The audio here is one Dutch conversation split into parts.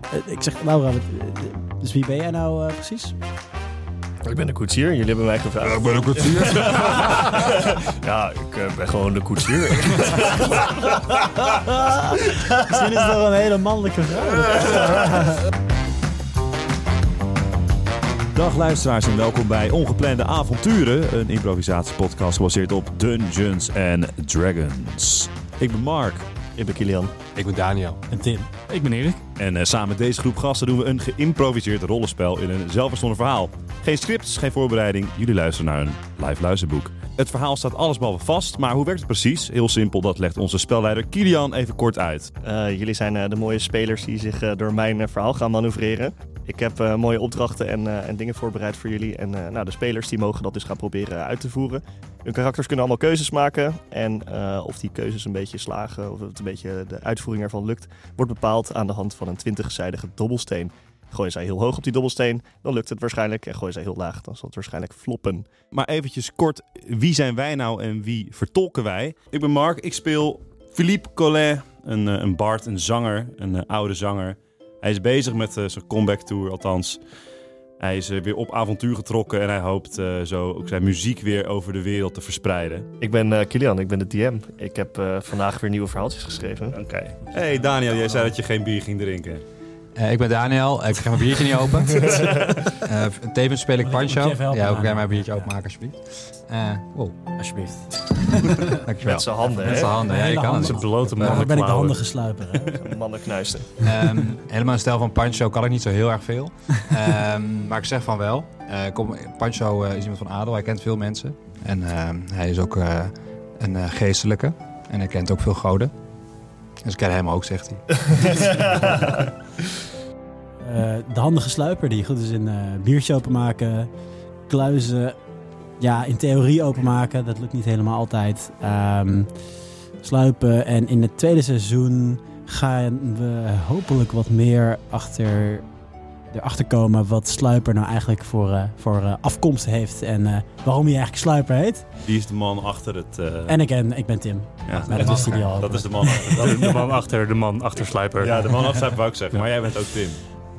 Eh, Ik zeg, Laura, wat, eh, dus wie ben jij nou eh, precies? Ik ben de koetsier. Jullie hebben mij Ja, gevraagd. ik ben ook wat zuur. Ja, ik eh, ben gewoon de koetsier. Misschien is het wel een hele mannelijke vrouw. Dag luisteraars en welkom bij Ongeplande Avonturen, een improvisatiepodcast gebaseerd op Dungeons and Dragons. Ik ben Mark Ik ben Kilian. Ik ben Daniel. En Tim. Ik ben Erik. en eh, samen met deze groep gasten doen we een geïmproviseerd rollenspel in een zelfverzonnen verhaal. Geen scripts, geen voorbereiding, jullie luisteren naar een live luisterboek. Het verhaal staat allesbehalve vast, maar hoe werkt het precies? Heel simpel, dat legt onze spelleider Kilian even kort uit. Eh, jullie zijn eh, de mooie spelers die zich eh, door mijn eh, verhaal gaan manoeuvreren. Ik heb eh, mooie opdrachten en, eh, en dingen voorbereid voor jullie. En eh, nou, de spelers die mogen dat dus gaan proberen uit te voeren. Hun karakters kunnen allemaal keuzes maken. En eh, of die keuzes een beetje slagen, of het een beetje de uitvoering ervan lukt, wordt bepaald aan de hand van een 20-zijdige dobbelsteen. Gooien zij heel hoog op die dobbelsteen, dan lukt het waarschijnlijk. En gooien zij heel laag, dan zal het waarschijnlijk floppen. Maar eventjes kort, wie zijn wij nou en wie vertolken wij? Ik ben Mark, ik speel Philippe Collet, een, eh, een bard, een zanger, een eh, oude zanger. Hij is bezig met eh, zijn comeback tour, althans. Hij is eh, weer op avontuur getrokken en hij hoopt eh, zo ook zijn muziek weer over de wereld te verspreiden. Ik ben eh, Kilian, ik ben de DM. Ik heb eh, vandaag weer nieuwe verhaaltjes geschreven. Oké. Hey Daniel, jij zei dat je geen bier ging drinken. Eh, ik ben Daniel. Ik ga mijn biertje niet open. Eh tevens speel ik Moet je- moet je Pancho. even helpen, Ja, ook jij Daniel? mijn biertje openmaken, alsjeblieft. Eh wow, Alsjeblieft. dankjewel. Met z'n handen, Met hè? z'n handen, ja, je Hele kan het. handen. blote Daarvoor ben ik de mannenklauwen. handige sluiper. hè. Mannen knuisten. Ehm, helemaal een stijl van Pancho kan ik niet zo heel erg veel. Ehm, maar ik zeg van wel. Eh, kom, Pancho eh, is iemand van adel, hij kent veel mensen. En ehm, hij is ook eh, een eh, geestelijke. En hij kent ook veel goden. Dus ik ken hem ook, zegt hij. Eh, de handige sluiper die goed is in eh, biertje openmaken, kluizen, ja, in theorie openmaken. Dat lukt niet helemaal altijd. Ehm, sluipen en in het tweede seizoen gaan we hopelijk wat meer achter, erachter komen wat sluiper nou eigenlijk voor, eh, voor eh, afkomst heeft en eh, waarom hij eigenlijk sluiper heet. Die is de man achter het... eh, En ik, en, ik ben Tim, ja, maar dat wisten jullie al. dat is de man achter dat is de man- achter de man, achter Slijper. Ja, de man achter zijn wou ik zeggen, maar jij bent ook Tim.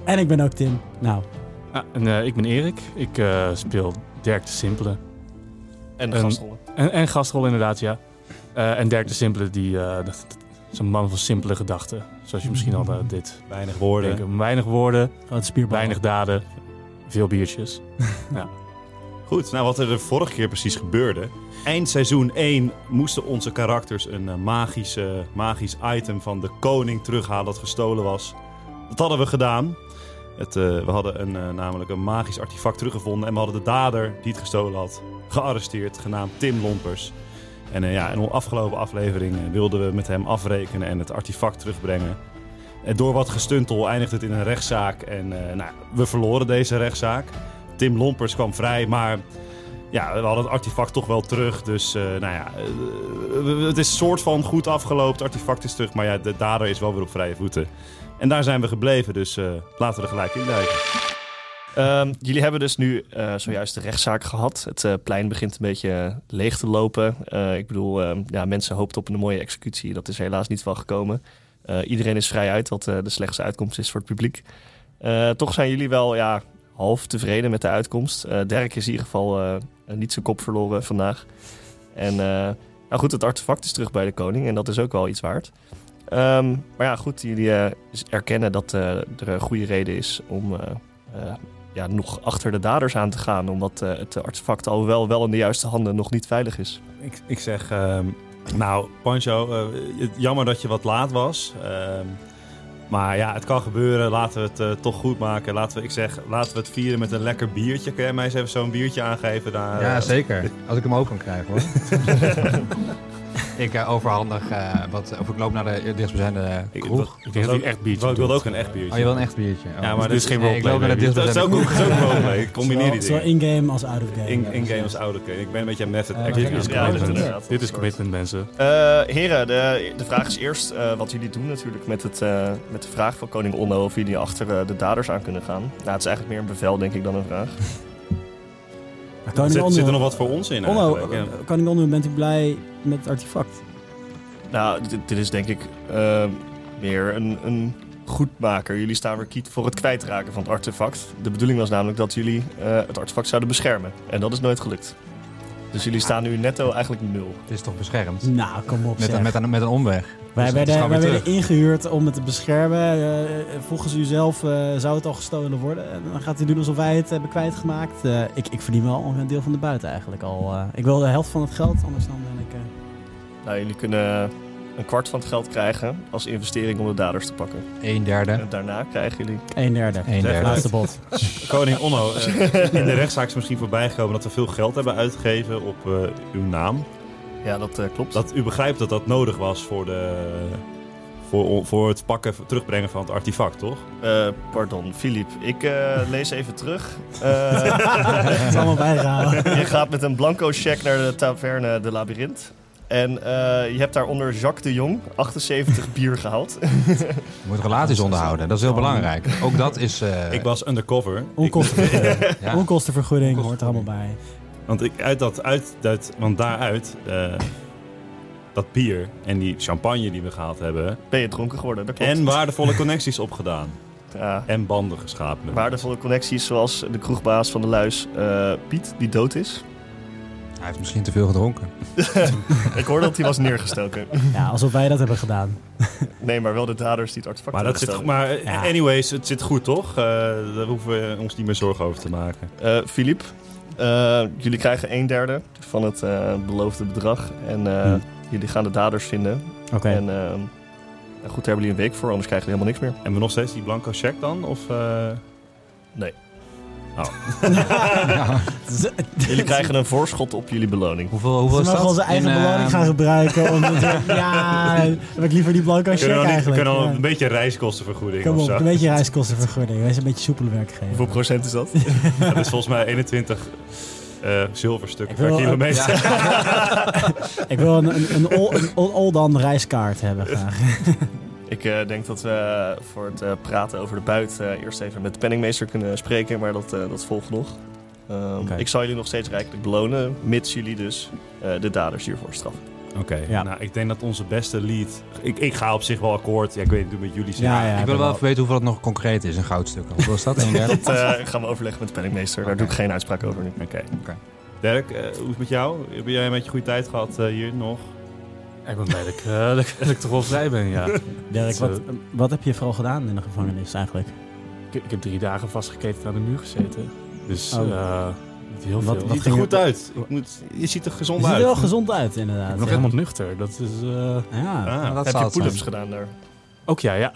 En ik ben ook Tim. Nou, Ah, en, eh, ik ben Erik. Ik eh, speel Dirk de Simpele. En de Een- gastrollen. En, en gastrol inderdaad, ja. Eh, en Dirk de Simpele, die eh, dat, dat is een man van simpele gedachten. Zoals je misschien al eh, dit Weinig woorden. denkt. Weinig woorden, grote spierbal. weinig daden, veel biertjes. Goed, nou wat er de vorige keer precies gebeurde. Eind seizoen 1 moesten onze karakters een eh, magische, magisch item van de koning terughalen dat gestolen was. Dat hadden we gedaan. Het, eh, we hadden een, eh, namelijk een magisch artefact teruggevonden en we hadden de dader die het gestolen had gearresteerd, genaamd Tim Lompers. En eh, ja, in onze afgelopen aflevering eh, wilden we met hem afrekenen en het artefact terugbrengen. En door wat gestuntel eindigde het in een rechtszaak en eh, nou, we verloren deze rechtszaak. Tim Lompers kwam vrij, maar ja, we hadden het artefact toch wel terug. Dus eh, nou ja, eh, we- we- het is soort van goed afgelopen. Het artefact is terug, maar ja, de dader is wel weer op vrije voeten. En daar zijn we gebleven, dus eh, laten we er gelijk in duiken. Ehm, jullie hebben dus nu eh, zojuist de rechtszaak gehad. Het eh, plein begint een beetje eh, leeg te lopen. Eh, ik bedoel, ehm, ja, mensen hoopten op een mooie executie. Dat is er helaas niet van gekomen. Eh, iedereen is vrij uit, wat eh, de slechtste uitkomst is voor het publiek. Eh, toch zijn jullie wel ja, half tevreden met de uitkomst. Eh Dirk is in ieder geval eh, niet zijn kop verloren vandaag. En eh, nou goed, het artefact is terug bij de koning en dat is ook wel iets waard. Ehm, maar ja, goed, jullie eh, erkennen dat eh, er een goede reden is om eh, eh, ja, nog achter de daders aan te gaan. Omdat eh, het artefact alhoewel wel in de juiste handen nog niet veilig is. Ik, ik zeg, ehm, nou, Pancho, eh, het- jammer dat je wat laat was. Ehm, maar ja, het kan gebeuren. Laten we het eh, toch goed maken. Laten we, ik zeg, laten we het vieren met een lekker biertje. Kun jij mij eens even zo'n biertje aangeven? Daar, ja, eh, zeker. Als ik hem ook kan krijgen hoor. ik eh, overhandig eh, wat, of ik loop naar de eh, dichtstbijzijnde Ik- kroeg. dat- Ik denk dat hij echt biertje Ik wilde doet. ook een echt biertje. Oh, je wil een echt biertje? Oh. Ja, maar dit is geen roleplay, Ik loop naar de baby. Dat is dichtstbijzijnde ook, kroeg. dat is ook roleplay. Ik combineer die Zowel dingen. zowel in-game als out-of-game. In- In-game als oude keuken. Ik ben een beetje een method Eh, acting dit aan is het Ja, doen. dat is inderdaad. Dit is commitment, mensen. Eh, heren, de, de vraag is eerst eh, wat jullie doen natuurlijk met, het, eh, met de vraag van koning Onno... of jullie achter eh, de daders aan kunnen gaan. Nou, het is eigenlijk meer een bevel, denk ik, dan een vraag. Maar Er Koning zit, Onno- zit er nog wat voor ons in Onno, eigenlijk? Ja. Koning Onno, bent u blij met het artefact? Nou, dit, dit is denk ik eh, meer een, een goedmaker. Jullie staan weer kiet voor het kwijtraken van het artefact. De bedoeling was namelijk dat jullie eh, het artefact zouden beschermen. En dat is nooit gelukt. Dus jullie staan nu netto eigenlijk nul. Het is toch beschermd? Nou, kom op Met, zeg. een- met, een, met een omweg. wij dus het is werden, gewoon wij weer werden ingehuurd om het te beschermen. Eh, volgens u zelf eh, zou het al gestolen worden. En dan gaat u doen alsof wij het hebben kwijtgemaakt. Eh, ik, ik verdien wel ongeveer een deel van de buit eigenlijk al. eh. ik wil de helft van het geld, anders dan ben ik... eh, Nou, jullie kunnen een kwart van het geld krijgen als investering om de daders te pakken. Een derde. En daarna krijgen jullie... een derde. Een derde. Laatste bot. Koning Onno, eh, in de rechtszaak is misschien voorbijgekomen dat we veel geld hebben uitgegeven op eh, uw naam. Ja, dat eh, klopt. Dat u begrijpt dat dat nodig was voor, de, voor, voor het pakken, voor het terugbrengen van het artefact, toch? Eh, pardon, Filip. Ik eh, lees even terug. Eh, het is allemaal bijgehouden. je gaat met een blanco check naar de taverne De Labyrinth. En eh, je hebt daaronder Jacques de Jong 78 bier gehaald. Je moet relaties onderhouden. Dat is heel belangrijk. Ook dat is... eh, ik was undercover. Onkostenvergoeding. ja. Onkostenvergoeding hoort er allemaal bij. Ik- want ik, uit dat, uit, dat, want daaruit, eh, dat bier en die champagne die we gehaald hebben. Ben je dronken geworden, dat klopt. En waardevolle connecties opgedaan. Ja, En banden geschapen. met waardevolle connecties zoals de kroegbaas van de Luis, eh, Piet, die dood is. Hij heeft misschien te veel gedronken. Ik hoorde dat hij was neergestoken. Ja, alsof wij dat hebben gedaan. Nee, maar wel de daders die het artefact Maar, dat hebben zit, gestolen. maar eh, Ja. anyways, het zit goed toch? Eh, daar hoeven we ons niet meer zorgen over te maken. Eh, Filip, eh, jullie krijgen een derde van het eh, beloofde bedrag. En eh, Hm. jullie gaan de daders vinden. Oké. En eh, nou goed, daar hebben jullie een week voor, anders krijgen jullie helemaal niks meer. En we nog steeds die blanco check dan? Of, eh, Jullie krijgen een voorschot op jullie beloning. Hoeveel, hoeveel Ze is dat? mogen onze eigen In, eh, beloning gaan gebruiken. Om te, ja, dan heb ik liever die blanco check kunnen we dan, niet, eigenlijk. kunnen we dan Ja. een beetje reiskostenvergoeding Kom of op, zo? een beetje reiskostenvergoeding. Wij zijn een beetje soepele werkgever. Hoeveel procent is dat? Dat is volgens mij 21 eh, zilverstukken Ik wil per ook- kilometer. Ik wil een, een, een, ol- een ol- Oldan reiskaart hebben graag. Ik eh, denk dat we voor het eh, praten over de buit eh, eerst even met de penningmeester kunnen spreken, maar dat, eh, dat volgt nog. Ehm, Oké. Ik zal jullie nog steeds rijkelijk belonen, mits jullie dus eh, de daders hiervoor straffen. Oké, Ja. nou ik denk dat onze beste lead... Ik, ik ga op zich wel akkoord. Ja, ik weet niet met jullie zijn. Ja, ja. Ik wil wel even weten hoeveel dat nog concreet is in goudstukken. Hoeveel is dat? Een derde? Dat eh, gaan we overleggen met de penningmeester, daar Oké. doe ik geen uitspraak over nu. Oké. Dirk, eh, hoe is het met jou? Heb jij een beetje goede tijd gehad eh, hier nog? Ik ben blij dat ik, eh, dat ik- dat ik toch wel vrij ben, ja. Dirk, Zo. wat, wat heb je vooral gedaan in de gevangenis eigenlijk? ik, ik heb drie dagen vastgeketend aan de muur gezeten. Dus Oh. eh, niet heel Wat- veel. wat ik Ziet er ging goed uit. Ik moet, je ziet er Je gezond ziet er wel uit. gezond uit ben inderdaad. nog Ja. helemaal nuchter. Dat is... eh, Ja. Ah. Nou, dat zal Heb je het zijn. pull-ups gedaan daar? ook ja, ja.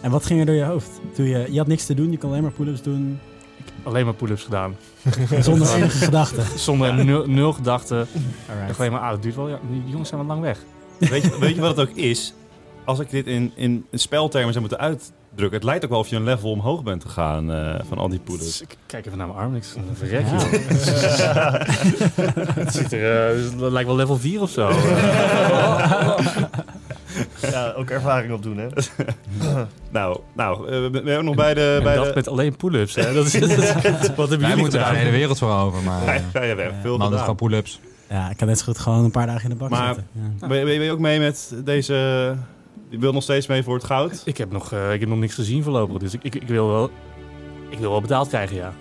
En wat ging er door je hoofd? Toen je, je had niks te doen, je kon alleen maar pull-ups doen. Alleen maar pull-ups gedaan. Zonder enige gedachten. Zonder nul, nul gedachten. Alright. Echt alleen maar, ah, het duurt wel. Ja, die jongens zijn wel lang weg. Weet je, weet je wat het ook is? Als ik dit in, in speltermen zou moeten uitdrukken... Het lijkt ook wel of je een level omhoog bent gegaan eh, van al die poeders. Dus ik kijk even naar mijn arm. Ik verrek, Ja. joh. Het ziet er... eh, het lijkt wel level 4 of zo. Ja, ook ervaring opdoen, hè? Nou, nou eh, we, we hebben nog bij de... En Bij dat de... met alleen pull-ups. hè. Dat is, dat is- wat hebben Wij jullie moeten daar gedaan? de hele wereld voor over, maar... Ja, eh, ja, we hebben veel man, dat gedaan. gewoon pull-ups. Ja, ik kan net zo goed gewoon een paar dagen in de bak Maar- zitten. Ja. Ben je, ben je ook mee met deze... Je wil nog steeds mee voor het goud. Ik heb nog, eh, ik heb nog niks gezien voorlopig. Dus ik, ik, ik, wil wel, ik wil wel betaald krijgen, ja.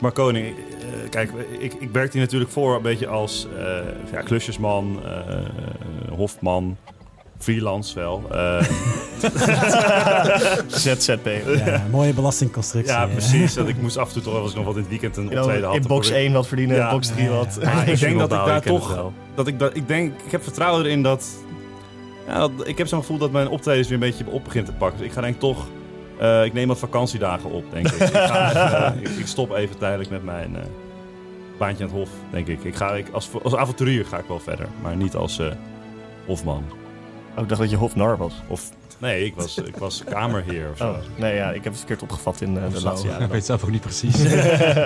Maar koning, eh, kijk, ik, ik werk hier natuurlijk voor een beetje als eh, ja, klusjesman, eh, hofman, freelance wel. Eh, ZZP. Ja, mooie belastingconstructie. ja, eh. precies. Dat ik moest af en toe toch wel eens nog wat in het weekend een Je wil optreden had. in box 1 wat verdienen, Ja. in box 3 wat. Ja, ik denk dat ik Opbouwen, daar ken het toch- wel. Dat ik, dat, ik denk, ik heb vertrouwen erin dat, ja, dat- ik heb zo'n gevoel dat mijn optredens weer een beetje op begint te pakken. Dus ik ga denk ik toch, eh, ik neem wat vakantiedagen op, denk ik. Ik, ga even, eh, ik, ik stop even tijdelijk met mijn eh, baantje aan het hof, denk ik. ik, ga, ik als, als avonturier ga ik wel verder, maar niet als eh, hofman. Oh, ik dacht dat je hofnar was. Of nee, ik was, ik was kamerheer of zo. Oh, nee, ja, ik heb het verkeerd opgevat in eh, de zo. laatste Ik jaren. weet zelf ook niet precies.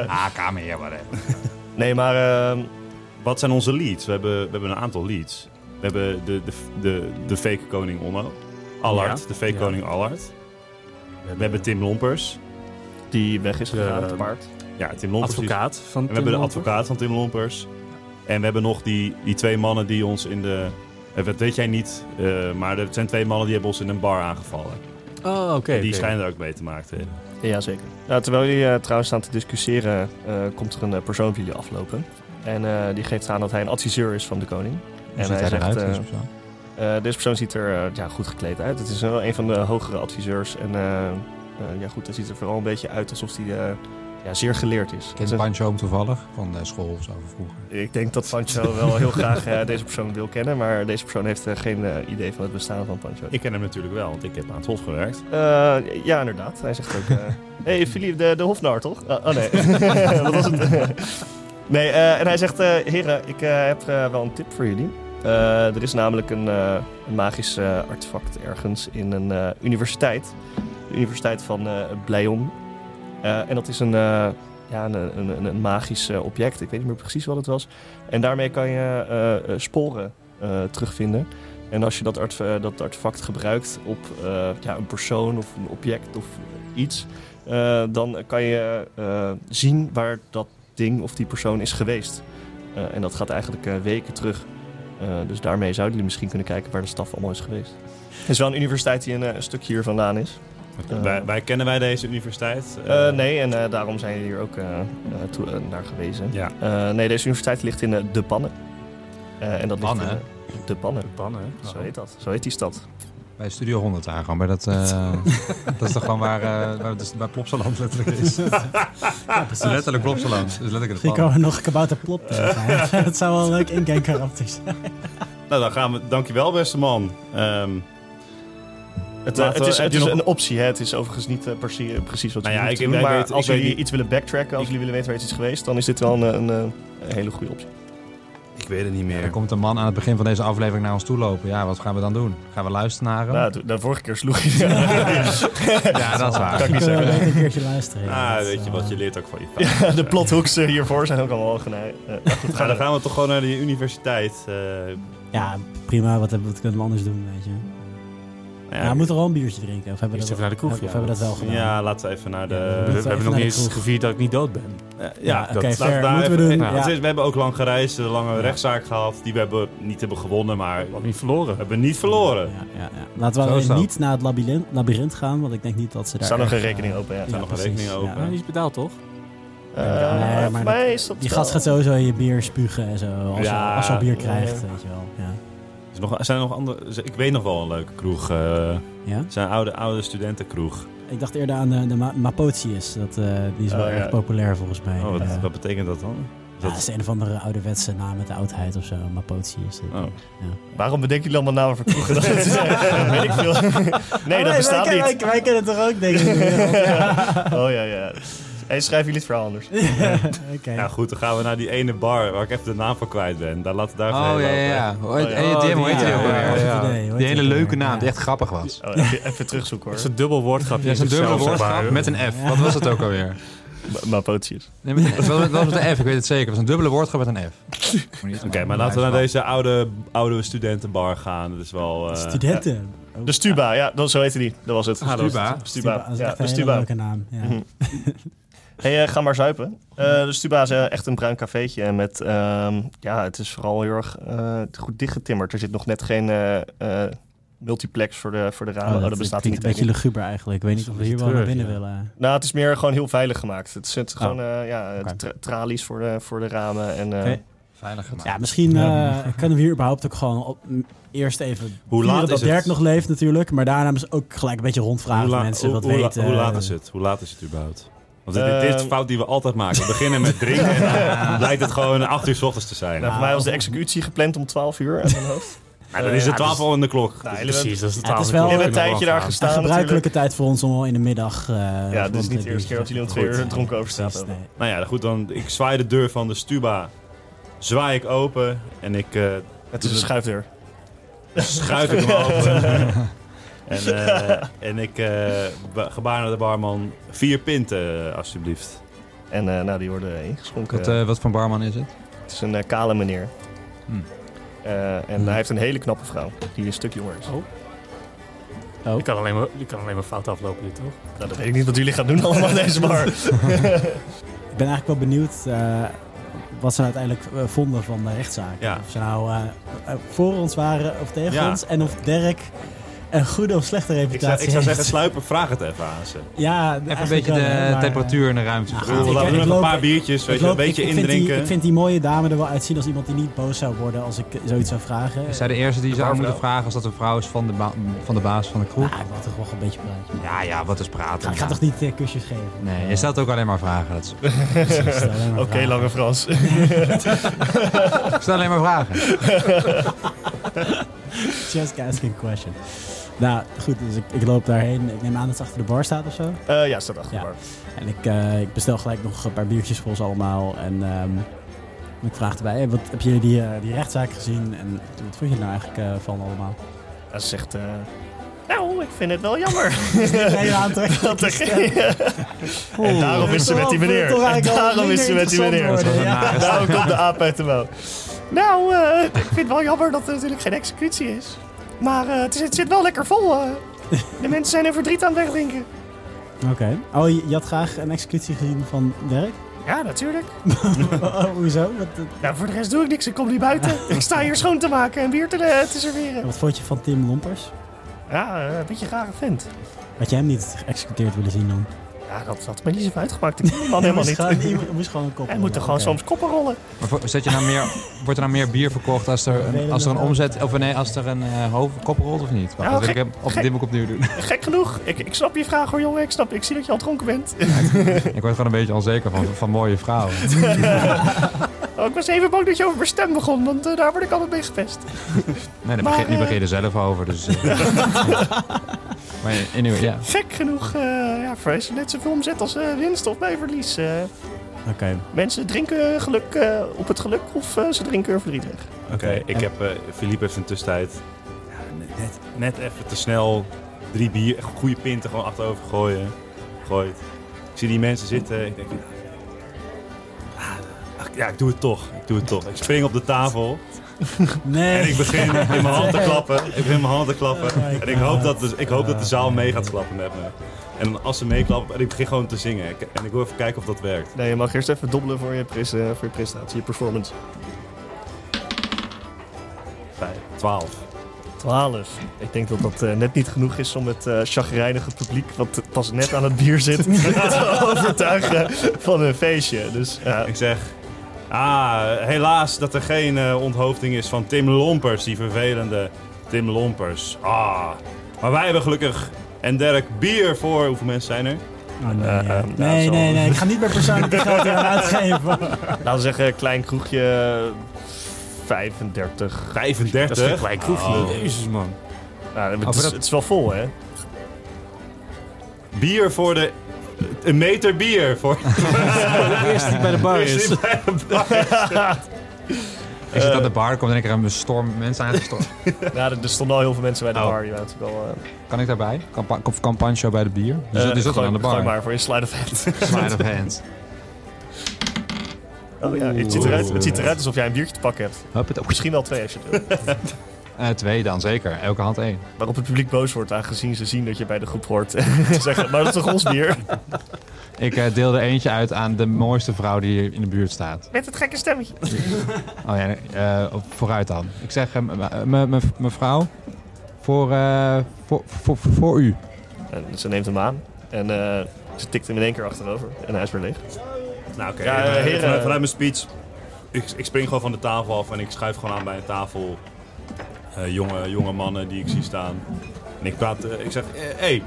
ah, kamerheer, whatever. Nee, maar ehm, Wat zijn onze leads? We hebben, we hebben een aantal leads. We hebben de, de, de, de fake koning Onno. Allard, Ja. de fake Ja. koning Allard. We hebben Tim Lompers. die weg is gegaan Ja. te paard. Ja, Tim Lompers. die- advocaat van En we Tim hebben de Lompers. advocaat van Tim Lompers. En we hebben nog die, die twee mannen die ons in de... eh, Dat weet jij niet, eh, maar er zijn twee mannen die hebben ons in een bar aangevallen. Oh, oké. die oké. schijnen er ook mee te maken te hebben. Ja, zeker. Nou, terwijl jullie eh, trouwens staan te discussiëren, eh, komt er een eh, persoon op jullie aflopen. En eh, die geeft aan dat hij een adviseur is van de koning. Hoe ziet hij hij zegt, eruit? eh, deze persoon? Eh, deze persoon ziet er eh, ja, goed gekleed uit. Het is wel een van de hogere adviseurs. En eh, eh, ja, goed, hij ziet er vooral een beetje uit alsof hij eh, ja, zeer geleerd is. Kent Dus, eh, Pancho hem toevallig? Van de school of zo van vroeger. ik denk dat Pancho wel heel graag eh, deze persoon wil kennen, maar deze persoon heeft eh, geen eh, idee van het bestaan van Pancho. Ik ken hem natuurlijk wel, want ik heb aan het hof gewerkt. Eh, ja, inderdaad. Hij zegt ook... eh, hey, Philippe, de, de hofnar, toch? Ah, oh, nee. Wat was het? nee, eh, en hij zegt... eh, heren, ik eh, heb eh, wel een tip voor jullie. Eh, er is namelijk een, eh, een magisch eh, artefact ergens in een eh, universiteit. De universiteit van eh Blyon. Eh, en dat is een, eh, ja, een, een, een- een magisch eh, object. Ik weet niet meer precies wat het was. En daarmee kan je eh, eh, sporen eh, terugvinden. En als je dat, art- eh, dat artefact gebruikt op eh, ja, een persoon of een object of iets, eh, dan kan je eh, zien waar dat ding of die persoon is geweest. Eh, en dat gaat eigenlijk eh, weken terug. Eh, dus daarmee zouden jullie misschien kunnen kijken waar de staf allemaal is geweest. Het is wel een universiteit die een, eh, een stukje hier vandaan is. Eh. wij, wij kennen wij deze universiteit? Eh, Eh, nee, en eh, daarom zijn jullie hier ook eh, eh, toe- eh, naar gewezen. Ja. Eh, nee, deze universiteit ligt in eh, De Pannen. Eh, en dat ligt in, Pannen? eh, de Pannen. De pannen, hè? Zo Oh. heet dat. Zo heet die stad. Bij Studio 100 daar gewoon. Bij dat, eh, dat is toch gewoon waar, eh waar, dus, bij Plopsaland letterlijk is. precies. letterlijk Plopsaland. Dus letterlijk het Misschien plan. komen we nog kabouter plop te zeggen. Dat zou wel een leuk dus. ingang-karakter Ah, zijn. Nou, dan gaan we. Dankjewel, beste man. Ehm, Het, Laten eh, het we- is, heb het je is nog- een optie, hè? het is overigens niet eh, precies, precies wat Nou jullie ja, moeten ik- doen. ik Maar weet- als ik weet jullie niet. iets willen backtracken, als jullie willen weten waar iets is geweest, dan is dit wel een, een, eh, een hele goede optie. ik weet het niet Ja, er meer. komt een man aan het begin van deze aflevering naar ons toe lopen. Ja, wat gaan we dan doen? Gaan we luisteren naar hem? Nou, de, de vorige keer sloeg je. Ja. ja, dat is waar. Kan ik Dan niet kunnen we zeggen. beter een keertje luisteren. Ah, inderdaad. weet je Zo, wat, eh, je leert ook van je fouten. Ja, de plothooks eh, hiervoor zijn ook allemaal genaaid. Nou, dan gaan we toch gewoon naar die universiteit. eh, Ja, prima. Wat, hebben, wat kunnen we anders doen, weet je? Ja, we moeten er wel een biertje drinken. Of hebben we Eerst dat, even naar de kroeg, of ja. hebben we dat wel gedaan? ja, laten we even naar de. Ja, We, dan we moeten hebben hebben naar nog de niet eens kroeg. gevierd dat ik niet dood ben. nog- eh, Ja, dat- oké, laten we fair. daar Moeten we even- doen. Ja, Ja. want We hebben ook lang gereisd, een lange Ja. rechtszaak gehad. Die we hebben niet hebben gewonnen, maar Ik we heb niet verloren. hebben niet verloren. Ja, ja, ja. Laten we Zo is alleen dat. niet naar het labyrinth, labyrinth gaan, want ik denk niet dat ze Er daar... staat nog een erg, rekening eh, open, ja. ja, nog een precies, rekening open. ja. Ja, die is betaald, toch? Eh, Nee, voor maar mij is dat Die wel- gast gaat sowieso in je bier spugen en zo. Als, Ja. je, als je al bier Ja. krijgt, weet je wel. Ja? Is er nog, zijn er nog andere. Ik weet nog wel een leuke kroeg. eh, ja? zijn oude, oude studentenkroeg. Ik dacht eerder aan de, de Ma- Mapotius. Dat, eh, die is wel Oh, ja. erg populair volgens mij. Oh, wat, Eh, wat betekent dat dan? ja, dat is een of andere ouderwetse naam met de oudheid of zo. Mapotius. Oh. Waarom bedenken jullie allemaal namen voor kroegen? Dat is, eh, weet ik veel. Nee, dat bestaat wij, niet. Wij, wij kennen toch ook dingen in de wereld? Oh ja, ja. Hey, schrijven jullie het verhaal anders. Ja, Oké. Ja, goed, dan gaan we naar die ene bar waar ik even de naam van kwijt ben. Daar laten we daar even Oh heen ja, lopen. ja. ja. Hoe heet- Oh, ja. hey, Oh, Tim, hoe heet die- die ook ja, alweer? ja, ja. Ja. Hoe heet die Die hele ook leuke alweer? naam die Ja. echt grappig was. Oh, even, even terugzoeken Dat is hoor. een dubbel woordgrapje. Ja, zo'n in zichzelf, dubbele zeg maar. woordgrap met een F. Wat was het ook alweer? Ma- Mapotius. Nee, met, dat was- dat was met een F, ik weet het zeker. Het was een dubbele woordgrap met een F. Oké, maar laten we naar deze oude, oude studentenbar gaan. Dat is wel... eh, Studenten. Oh, De Stuba, ja, dat, zo heette die. Dat was het. Ah, dat was Stuba. het. Stuba. Stuba, Dat is ja, echt de een hele Stuba. leuke naam. Ja. Oh, Mhm. Hey, eh, ga maar zuipen. Eh, de Stuba is eh, echt een bruin cafeetje. En met, ehm, ja, het is vooral heel erg eh, goed dichtgetimmerd. Er zit nog net geen eh, eh, multiplex voor de, voor de ramen. Oh, dat, bestaat hier klinkt niet. een beetje denk ik. luguber eigenlijk. Ik weet Dat niet is of we een hier wel beetje naar binnen treurig, willen. Nou, het is meer gewoon heel veilig gemaakt. Het zit Oh. gewoon, eh, ja, Oké. tra- tralies voor de, voor de ramen. En, eh, Oké. Veilig gemaakt. Ja, misschien Ja. eh, kunnen we hier überhaupt ook gewoon op, m, eerst even Hoe vieren laat dat is het? Dirk nog leeft natuurlijk. Maar daarna is ook gelijk een beetje rondvragen hoe of la- mensen hoe- wat hoe la- weten. hoe laat is het? Hoe laat is het überhaupt? Want dit, dit is Ehm. fout die we altijd maken. We beginnen met drinken en dan blijkt het gewoon 8 uur s ochtends te zijn. nou, voor mij was de executie gepland om 12 uur uit mijn hoofd. Maar dan is het Eh, Ja, dus- 12 al in de klok. Nou, jullie hebben- Precies, dat is de Ja, het is twaalfde wel- keer. We hebben een tijdje daar Ja. Een gestaan natuurlijk. gebruikelijke tijd voor ons om al in de middag... eh, Ja, dit rond is niet de eerste keer dat jullie om twee Goed, uur ja, dronken over straat precies, hebben. nee. Nou ja, goed, dan ik zwaai de deur van de stuba. Zwaai ik open en ik eh, Het is een schuifdeur. schuif ik hem open. en, eh, en ik eh, ba- gebaar naar de barman. Vier pinten, eh, alsjeblieft. En eh, nou, die worden ingeschonken. Wat, eh, wat voor barman is het? Het is een eh, kale meneer. Hmm. Eh, en Hmm. hij heeft een hele knappe vrouw, die een stuk jonger is. Je kan alleen maar, je kan alleen maar fout aflopen, dit toch? Nou, dat weet ik niet wat jullie gaan doen allemaal in deze bar. Ik ben eigenlijk wel benieuwd eh, wat ze nou uiteindelijk eh, vonden van de rechtszaak. Ja. Of ze nou eh, eh, voor ons waren of tegen Ja. ons. En of Dirk een goede of slechte Ik zou, reputatie ik zou zeggen, heeft. sluipen, vraag het even aan ze. ja, Even een eigenlijk beetje wel, de hè, maar, eh, temperatuur in de ruimte. Ja, Ik bedoel, ik- laten we ik even een loop- paar biertjes, weet ik je, loop- een beetje ik, ik, vind die, indrinken. ik vind die mooie dame er wel uitzien als iemand die niet boos zou worden als ik eh, zoiets zou vragen. Is zij de eerste die je Een zou paar moeten vrouwen. vragen als dat een vrouw is van de, ba- van de baas van de Nou, kroeg? ik wil toch wel een beetje praten. Ja, ja, wat is praten. Ik ga ja. toch niet eh, kusjes geven? Nee, je stelt ook alleen maar vragen. Dat is- Oké, Oké, Lange Frans. Ik stel alleen maar vragen. Just asking a question. Nou, goed, dus ik, ik loop daarheen. Ik neem aan dat ze achter de bar staat of zo. Eh, ja, staat achter Ja. de bar. En ik, eh, ik bestel gelijk nog een paar biertjes voor ons allemaal. En ehm, ik vraag erbij, hey, wat, heb je die, eh, die rechtszaak gezien? En wat vond je er nou eigenlijk eh, van allemaal? Ja, ze zegt, eh, nou, ik vind het wel jammer. Nee, aantrekken. dat er geen- en daarom is ze met die meneer. En daarom is ze met die meneer. worden, ja. Daarom komt de aap uit de mouw. Nou, eh, ik vind het wel jammer dat er natuurlijk geen executie is. Maar eh, het, is- het zit wel lekker vol. eh. De mensen zijn er verdriet aan het wegdrinken. Oké. Oh, je, je had graag een executie gezien van Dirk? Ja, natuurlijk. Oh, hoezo? Wat, eh, Nou, voor de rest doe ik niks. Ik kom niet buiten. Ik sta hier schoon te maken en bier te, eh, te serveren. wat vond je van Tim Lompers? Ja, eh, een beetje rare vent. Had jij hem niet geëxecuteerd willen zien dan? Ja, dat had me niet zoveel uitgemaakt. Ik ken die man helemaal Hij moest gewoon- niet. Hij moest gewoon een kop Hij moet er gewoon soms koppen rollen. Maar voor- zet je nou meer, wordt er nou meer bier verkocht als er een, als er een omzet... Of nee, als er een eh, hoofd, kop rolt of niet? Wacht, Nou, dat wil ik hem- of gek. dit moet ik opnieuw doen. Gek genoeg. Ik, ik snap je vraag hoor, jongen. Ik snap. Ik zie dat je al dronken bent. ik word gewoon een beetje onzeker van, van mooie vrouwen. Oh, ik was even bang dat je over mijn stem begon, want eh, daar word ik altijd mee gepest. Nee, daar Maar, begin, nu eh, begin je er zelf over. Dus, eh. maar anyway, ja. Gek genoeg, eh ja, Fresh, net zoveel omzet als eh, winst of bij verlies. eh. Oké. mensen drinken geluk eh, op het geluk of eh, ze drinken hun verdriet weg. Oké, ik heb... eh Philippe heeft in de tussentijd ja, net, net even te snel drie bier, echt goede pinten gewoon achterover gooien. Gooit. Ik zie die mensen zitten. Ik denk, ja, ah, ja, ik doe het toch. Ik doe het toch. Ik spring op de tafel. Nee. En ik begin in mijn hand te klappen. Ik begin in mijn hand te klappen. Oh my en ik hoop, dat God. de, ik hoop dat de zaal Ah, mee nee. gaat klappen met me. En dan als ze meeklappen, en ik begin gewoon te zingen. Ik- En ik wil even kijken of dat werkt. Nee, je mag eerst even dobbelen voor je, eh, voor je prestatie, je performance. Vijf, twaalf. 12. Ik denk dat dat eh, net niet genoeg is om het eh chagrijnige publiek, wat pas net aan het bier zit, te overtuigen van een feestje. Dus ja, Ik zeg, ah, helaas dat er geen eh, onthoofding is van Tim Lompers, die vervelende Tim Lompers. Ah, maar wij hebben gelukkig en Dirk bier voor, hoeveel mensen zijn er? Oh, nee, Eh, nee, ehm, nee, ja, nee, zo. nee, ik ga niet meer persoonlijk geld eraan uitgeven. laten we zeggen, klein kroegje 35. 35. Dat is geen klein kroegje. Oh. Jezus, man. Nou, het, maar is, dat- het is wel vol, hè? Bier voor de... Een meter bier voor Eerst die bij de bar Is is. die bij de bar. Ik Eh. zit aan de bar, komt in één keer een storm mensen aan de storm. Ja, er, er stonden al heel veel mensen bij de Oh. bar. Die waren natuurlijk al. eh, Kan ik daarbij? Kan, pa- of kan Pancho bij de bier? Dus Die zit, eh, die zit al gooi- aan de gooi bar. maar voor je slide of hand. Slide of hand. Oh ja, het ziet, eruit, het ziet eruit alsof jij een biertje te pakken hebt. Hup, het op. Misschien wel twee als je het wil. Eh, twee dan, zeker. Elke hand één. Waarop het publiek boos wordt, aangezien ze zien dat je bij de groep hoort. Ze zeggen, maar dat is toch ons bier? Ik eh, deel er eentje uit aan de mooiste vrouw die hier in de buurt staat. Met het gekke stemmetje. Oh ja, eh, op- vooruit dan. Ik zeg, eh, m- m- m- mevrouw, voor, eh, voor, voor, voor, voor u. En ze neemt hem aan en eh, ze tikt hem in één keer achterover. En hij is weer leeg. Nou oké, Ja, eh, heren. vanuit, vanuit mijn speech. Ik, ik spring gewoon van de tafel af en ik schuif gewoon aan bij een tafel. eh, jonge, jonge mannen die ik zie staan. En ik praat, eh, ik zeg, hé, hey,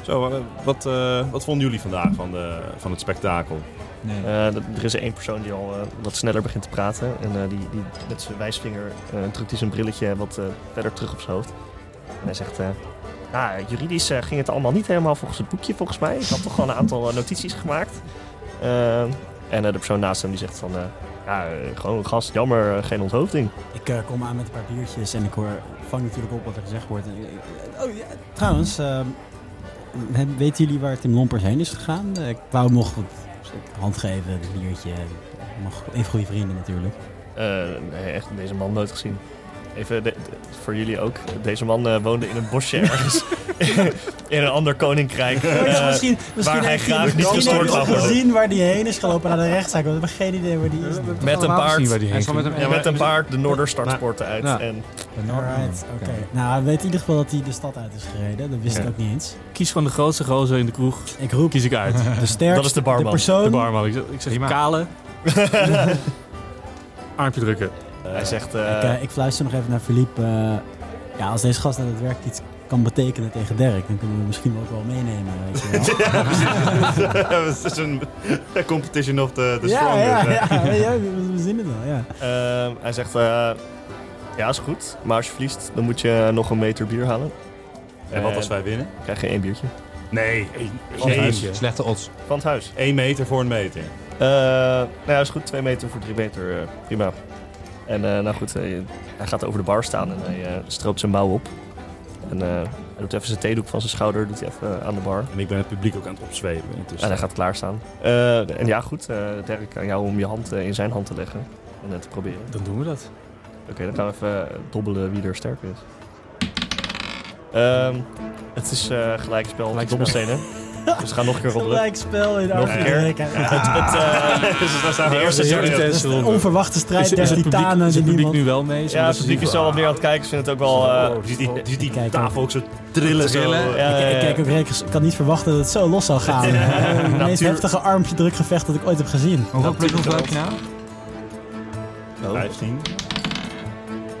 zo, eh, wat, eh, wat vonden jullie vandaag van, de, van het spektakel? Nee. Eh, dat- er is één persoon die al eh, wat sneller begint te praten. En eh, die, die met zijn wijsvinger eh, drukt hij zijn brilletje wat eh, verder terug op zijn hoofd. En hij zegt... eh, nou, juridisch eh, ging het allemaal niet helemaal volgens het boekje volgens mij. Ik had toch wel een aantal eh, notities gemaakt. Ehm, en eh, de persoon naast hem die zegt van... eh, ja, eh, gewoon gast, jammer, eh, geen onthoofding. Ik eh, kom aan met een paar biertjes en ik hoor, vang natuurlijk op wat er gezegd wordt. En ik- ik- oh ja, trouwens, ehm, he- weten jullie waar Tim Lompers heen is gegaan? Eh, ik wou hem nog wat hand geven, een biertje. Nog even goede vrienden natuurlijk. Eh, nee, echt, deze man nooit gezien. Even de- de- voor jullie ook. Deze man eh, woonde in een bosje ergens. in een ander koninkrijk. Eh, misschien misschien hij heeft graag niet misschien gestoord heeft hij mag worden. gezien waar die heen is gelopen naar de rechtszaak. want We hebben geen idee waar die is. Met een paard. Zien waar die Hij heen zal met ging. hem- ja, met een paard de Noorderstadspoorten uit. Ja. En Alright, oké. Nou, we weten in ieder geval dat hij de stad uit is gereden. Dat wist Ja. ik ook niet eens. Kies van de grootste gozer in de kroeg. Ik roep Kies ik uit. de sterkste, Dat is de barman. persoon. De barman. Ik zeg, ik zeg Prima. Ehm, kale. Armpje drukken. hij zegt... Ik, eh, eh, ik fluister nog even naar Philippe. eh, ja, als deze gast aan het werk iets kan betekenen tegen Dirk, dan kunnen we hem misschien ook wel meenemen. Weet je wel. Het is een competition of the, the ja, strongest. ja, hè. ja, ja, we, we zien het wel. Ja. Ehm, hij zegt, eh, ja is goed, maar als je verliest, dan moet je nog een meter bier halen. En wat als wij winnen? Dan krijg je één biertje. Nee, Van het één. huisje. Slechte odds. Van het huis. 1 meter voor een meter. Eh, nou ja, is goed, twee meter voor drie meter, eh, prima. En eh, nou goed, eh, hij gaat over de bar staan en hij eh, stroopt zijn mouw op. En eh, hij doet even zijn theedoek van zijn schouder, doet hij even eh, aan de bar. En ik ben het publiek ook aan het opzweven. En hij gaat klaarstaan. Eh, en ja, goed, eh Dirk, aan jou om je hand eh, in zijn hand te leggen. En eh, te proberen. Dan doen we dat. Oké, dan gaan we even eh, dobbelen wie er sterk is. Ehm, het is eh gelijk spel op de Gelijkspel. dobbelstenen. dus we gaan nog een keer roddelen. Gelijk spel in Nog een keer. Afrika. Het, het, eh, Dus de eerste heel serie- intens. Een onverwachte strijd Is, is der het publiek, titanen is die het publiek niemand... nu wel mee? Ja, het publiek is wel wat meer aan het kijken. Ze vinden het ook wel... eh, Je ziet die, je ziet die Kijk, tafel ook zo trillen. zo. eh. Trillen. ja, ja, Oh, Ik, ik ja. kijk ook rekens, ik kan niet verwachten dat het zo los zou gaan. Eh, Het meest Natuur- heftige armpje drukgevecht dat ik ooit heb gezien. Hoeveel plus hoeveel heb je nou? Oh. 15.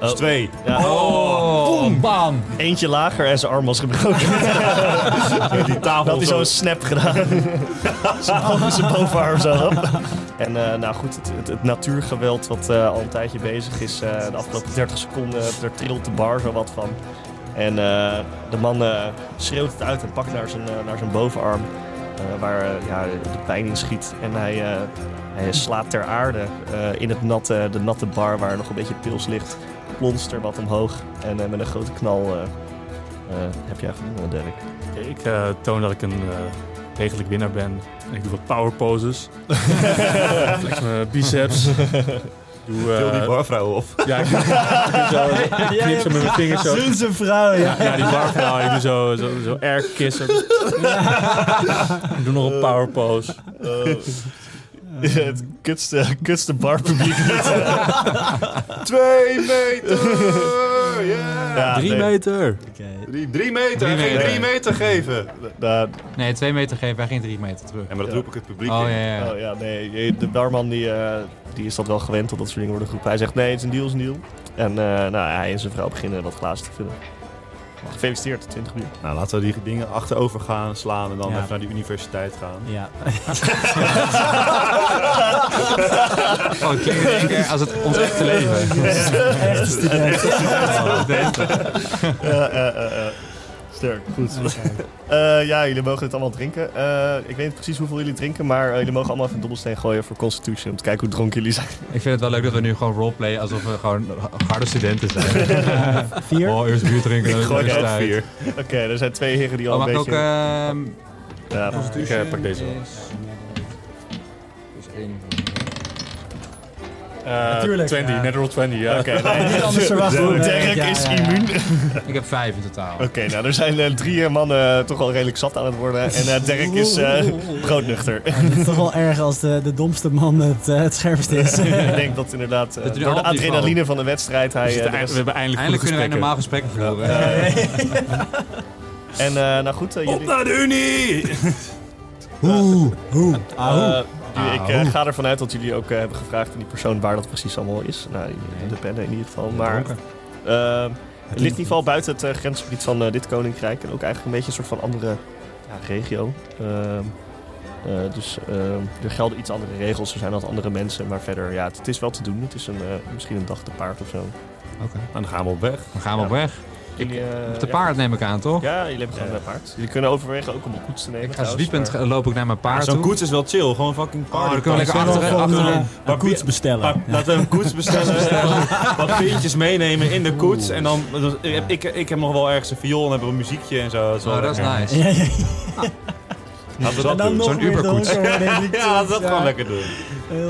Oh. Dus 2. Ja. Oh, bam! Eentje lager en zijn arm was gebroken. Die Dan tafel had hij zo. zo'n snap gedaan. zijn, bo- zijn bovenarm zo. En eh, nou goed, het, het, het natuurgeweld wat eh, al een tijdje bezig is. eh, de afgelopen 30 seconden, er trilt de bar zo wat van. En eh, de man eh, schreeuwt het uit en pakt naar zijn, eh, naar zijn bovenarm. eh, waar eh, ja, de pijn in schiet. En hij, eh, hij slaat ter aarde eh, in het natte, de natte bar waar nog een beetje pils ligt. Plonst er wat omhoog. En eh, met een grote knal eh, eh, heb jij gewonnen, Derek. Ik eh, toon dat ik een eh, degelijk winnaar ben. En ik doe wat power poses. Eh, Flex mijn biceps. Doe, eh, Til die barvrouw op. ja, ik doe, ik doe zo, ik knip zo met mijn vingers zo. Zoen zijn vrouw, ja. Ja, die barvrouw. Ik doe zo, zo, zo air kiss. Ik doe nog een power pose. Oh. het kutste, kutste barpubliek. 2 meter! Ja, Drie Ah, nee. meter. 3 meter! Hij ging Drie meter. 3 meter geven! Nou, Nee, twee meter geven, hij ging drie meter terug. Ja, maar dat roep ik het publiek Oh ja, in. ja. ja. oh, ja, nee, je- de barman die, eh, die is dat wel gewend dat dat soort dingen worden geroepen. Hij zegt nee, het is een deal, het is een deal. En eh, nou, hij en zijn vrouw beginnen dat glazen te vullen. Maar Gefeliciteerd, 20 uur. Nou, laten we die dingen achterover gaan slaan en dan Ja. even naar die universiteit gaan. Ja. Oh, het klinkt in één keer als het ons echte leven. Echte student. Sterk, goed. Eh, ja, jullie mogen het allemaal drinken. Eh, ik weet niet precies hoeveel jullie drinken, maar eh, jullie mogen allemaal even een dobbelsteen gooien voor Constitution. Om te kijken hoe dronken jullie zijn. Ik vind het wel leuk dat we nu gewoon roleplayen alsof we gewoon harde studenten zijn. Vier. Oh, eerst bier drinken, dan gooi eerst er ook uit. Vier. Oké, er zijn twee heren die al Oh, mag een ik ook... beetje... ehm ja, Ik eh, pak deze wel. Natuurlijk, Eh, Natuurlijk. 20, ja. natural 20, ja. Oké, nee. Niet anders verwacht. Zo, Nee, Derek ja, is ja, ja. immuun. ehm, ik heb vijf in totaal. Oké, nou, er zijn eh, drie eh, mannen toch al redelijk zat aan het worden. En eh, Dirk is eh broodnuchter. Het is toch wel erg als de, de domste man het, eh, het scherpst is. ik denk dat inderdaad Dat eh, jullie door de al op niveau. adrenaline van de wedstrijd hij... We, eh, zitten de eind- rest- we hebben eindelijk, Eindelijk goede kunnen wij normaal gesprekken. gesprekken voeren. en eh, nou goed, eh, jullie... naar de Unie! Hoe? Ah, Hoe? eh, jullie- ik eh, Ahoe. ga ervan uit dat jullie ook eh, hebben gevraagd aan die persoon waar dat precies allemaal is. Nou, de pennen in ieder geval. Maar Dronken. eh, Het ligt in ieder geval buiten het eh, grensgebied van eh, dit koninkrijk. En ook eigenlijk een beetje een soort van andere ja, regio. Ehm, eh, dus ehm, er gelden iets andere regels. Er zijn wat andere mensen. Maar verder, ja, het, het is wel te doen. Het is een, eh, misschien een dag te paard of zo. Dan gaan we op weg. Dan gaan we op Ja. weg. Jullie, eh, Op de ja. paard neem ik aan, toch? Ja, jullie hebben gewoon een paard. Jullie kunnen overwegen ook om een koets te nemen. Ik ga trouwens, zwiepend maar- eh, loop ik naar mijn paard Zo'n toe. koets is wel chill. Gewoon fucking Oh, dan party. kunnen we lekker achter, achterin. Een koets bestellen. Maar Laten we een koets bestellen. eh, wat pintjes meenemen in de koets. En dan, ik, heb- ik, ik heb nog wel ergens een viool en hebben we een muziekje en zo. Oh, dat is Ah, nice. Ja, ja, Laten we En dat dan doen. nog- Zo'n Uberkoets. Ja, laten we dat gewoon lekker doen.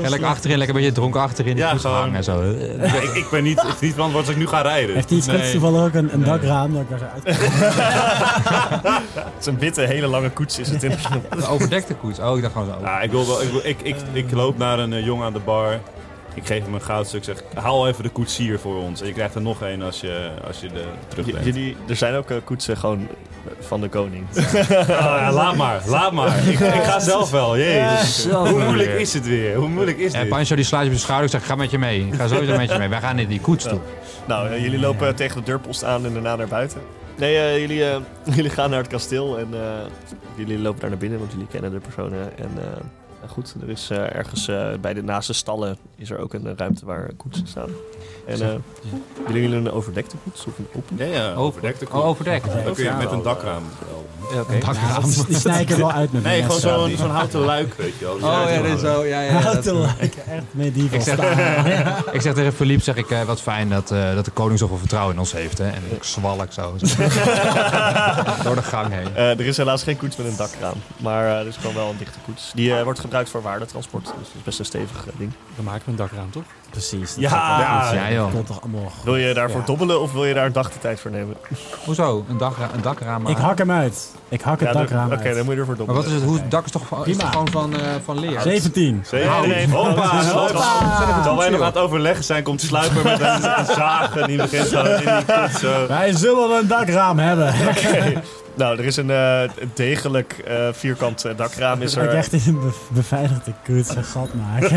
En lekker achterin, lekker een beetje dronken achterin. die Ja, koets gewoon. hangen en zo. Eh, Ja, ik, ik ben niet, het is niet verantwoord als ik nu ga rijden. Heeft die iets Nee. toevallig ook een, een dakraam dat ik daar zo uit Het is een witte, hele lange koets is het in. Een overdekte koets. Oh, ik dacht gewoon zo. Ja, Ah, ik, wil wel, ik, wil- ik, ik, ik loop naar een eh, jongen aan de bar. Ik geef hem een goudstuk. Zeg, haal even de koetsier voor ons. En je krijgt er nog één als je, als je de, terug J- bent. Jullie, er zijn ook eh, koetsen gewoon eh, van de koning. Ah, ja, laat maar, laat maar. Ik, ik ga zelf wel. Jezus. Hoe Eh, moeilijk is het weer? Hoe moeilijk is En dit? Pancho die slaat je op zijn schouder. Ik zeg, ga met je mee. Ik ga sowieso met je mee. Wij gaan in die koets toe. Nou, eh, jullie lopen tegen de deurpost aan en daarna naar buiten. Nee, eh, jullie, eh, jullie gaan naar het kasteel en eh, jullie lopen daar naar binnen, want jullie kennen de personen. En eh, nou goed, er is eh, ergens eh, bij de naaste stallen is er ook een eh, ruimte waar koetsen staan. En eh willen jullie een overdekte koets of een open? Ja, ja. Overdekte Oh, overdekt. Dan kun je met een dakraam. Ja, oké. Ja, die, die snij ik er wel uit met Nee, mijn gewoon mes. zo'n zo'n houten luik, weet je wel. Oh ja, dit is zo. Ja, ja, Houd dat- te lachen, echt medieval Ik zeg, style. ik zeg tegen Philippe, zeg ik, eh, wat fijn dat, eh, dat de koning zoveel vertrouwen in ons heeft. Hè? En ik zwal ik zo. zo. Door de gang heen. Eh, er is helaas geen koets met een dakraam, maar eh, er is gewoon wel een dichte koets. Die eh, wordt gebruikt voor waardetransport, dus dat is best een stevig eh, ding. Dan maken we een dakraam, toch? Precies. dat Ja, ja, Ja joh. Komt toch allemaal goed. Wil je daarvoor dobbelen of wil je daar een dag de tijd voor nemen? Hoezo? Een, dakra een dakraam Ik maken? hak hem uit. Ik hak het dan- dakraam Oké, uit. dan moet je ervoor dobbelen. Maar wat is het? Hoe, dak is toch van- is Prima. toch gewoon van, eh, van leer? 17. Zeker. Nee, nee, Hoppa, dat is- sluiper. Terwijl wij nog joh. aan het overleggen zijn, komt Sluiper met een, een zaag en die begint zo in die koets eh. zo. Wij zullen een dakraam hebben. Oké. Nou, er is een eh, degelijk eh, vierkant eh, dakraam. Is Dat ik er. echt in een be- beveiligde kut een gat maken.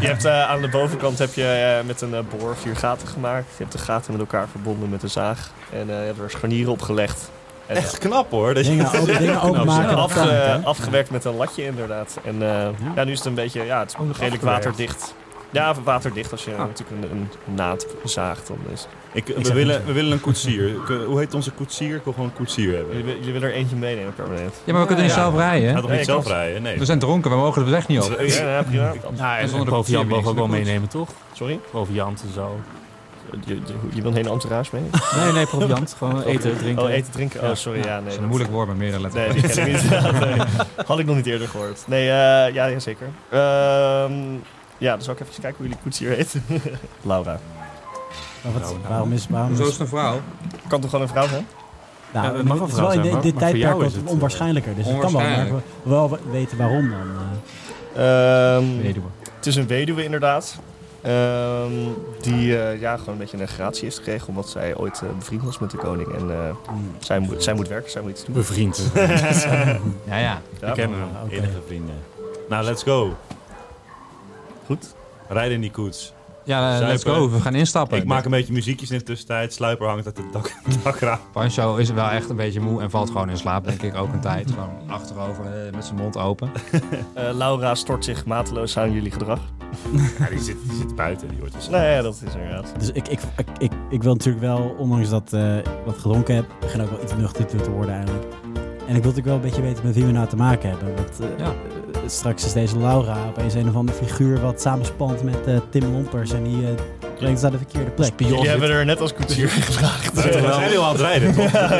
Je hebt, eh, aan de bovenkant heb je eh, met een eh, boor vier gaten gemaakt. Je hebt de gaten met elkaar verbonden met een zaag. En eh, je hebt er scharnieren op gelegd. En, eh, Echt knap hoor. Dat je- dingen open, dingen openmaken, dat afge- kan ik, hè. afgewerkt met een latje inderdaad. En eh, ja. nu is het een beetje, ja, het is redelijk afgewerkt. waterdicht. Ja, waterdicht. Als je natuurlijk een, een naad zaagt, dan is Ik, zeg we, niet willen, zo. we willen een koetsier. K- Hoe heet onze koetsier? Ik wil gewoon een koetsier hebben. Jullie, jullie willen er eentje meenemen permanent. Ja, maar we kunnen niet Ja, ja. zelf Gaat rijden. hè? toch Nee, niet zelf klopt. rijden? Nee. We zijn dronken, we mogen de weg niet op. Eh, Ja, prima. Ja, zonder en, en de proviant koets. mogen we ook wel Zonder de meenemen, toch? Sorry? Proviant en zo. Je, je, je wil een hele entourage mee? Nee, nee, proviant. Gewoon eten, drinken. Oh, eten, drinken? Oh, sorry. Ja, Dat nee. is een moeilijk woord met meerdere letters. Nee, die ken ik niet. Nee. Had ik nog niet eerder gehoord. Nee, eh, ja, zeker. Ehm, ja, dan zal ik even kijken hoe jullie koets hier heet. Laura. Maar wat- Waarom is waarom Hoezo is is- het een vrouw? Kan toch gewoon een vrouw zijn? Nou, Ja, dat mag het is wel wel in zijn, dit- maar- dit maar voor tijdperk jou wat is het, eh, onwaarschijnlijker. Dus het kan wel, maar we onwaarschijnlijk. we wel weten waarom dan. eh. Weduwe. Ehm, het is een weduwe inderdaad. Ehm, die eh, ja, gewoon een beetje een gratie heeft gekregen omdat zij ooit eh, bevriend was met de koning. En eh, zij, moet, zij moet werken, zij moet iets doen. dus- Bevriend. Ja, ja. We kennen hem. Ah, oké. Enige vrienden. Nou, let's go. Goed. Rijden in die koets. Ja, eh, let's Zuipen. go. We gaan instappen. Dus Ik maak een beetje muziekjes in de tussentijd. Sluiper hangt uit het dak, dakraam. Pancho is wel echt een beetje moe en valt gewoon in slaap, denk ik, ook een tijd. Gewoon achterover eh, met zijn mond open. Eh, Laura stort zich mateloos aan jullie gedrag. Ja, die zit, die zit buiten. Die hoort dus. Nee, ja, dat is inderdaad. Dus ik, ik, ik, ik, ik wil natuurlijk wel, ondanks dat eh, ik wat gedronken heb, begin ook wel iets nuchter te worden eigenlijk. En ik wil natuurlijk wel een beetje weten met wie we nou te maken hebben. Want eh, Ja. eh, straks is deze Laura opeens een of andere figuur wat samenspant met eh, Tim Lompers. En die eh brengt ons naar de verkeerde plek. Jullie hebben er net als koetsier gevraagd. We zijn heel aan het rijden, toch? Ja, ja,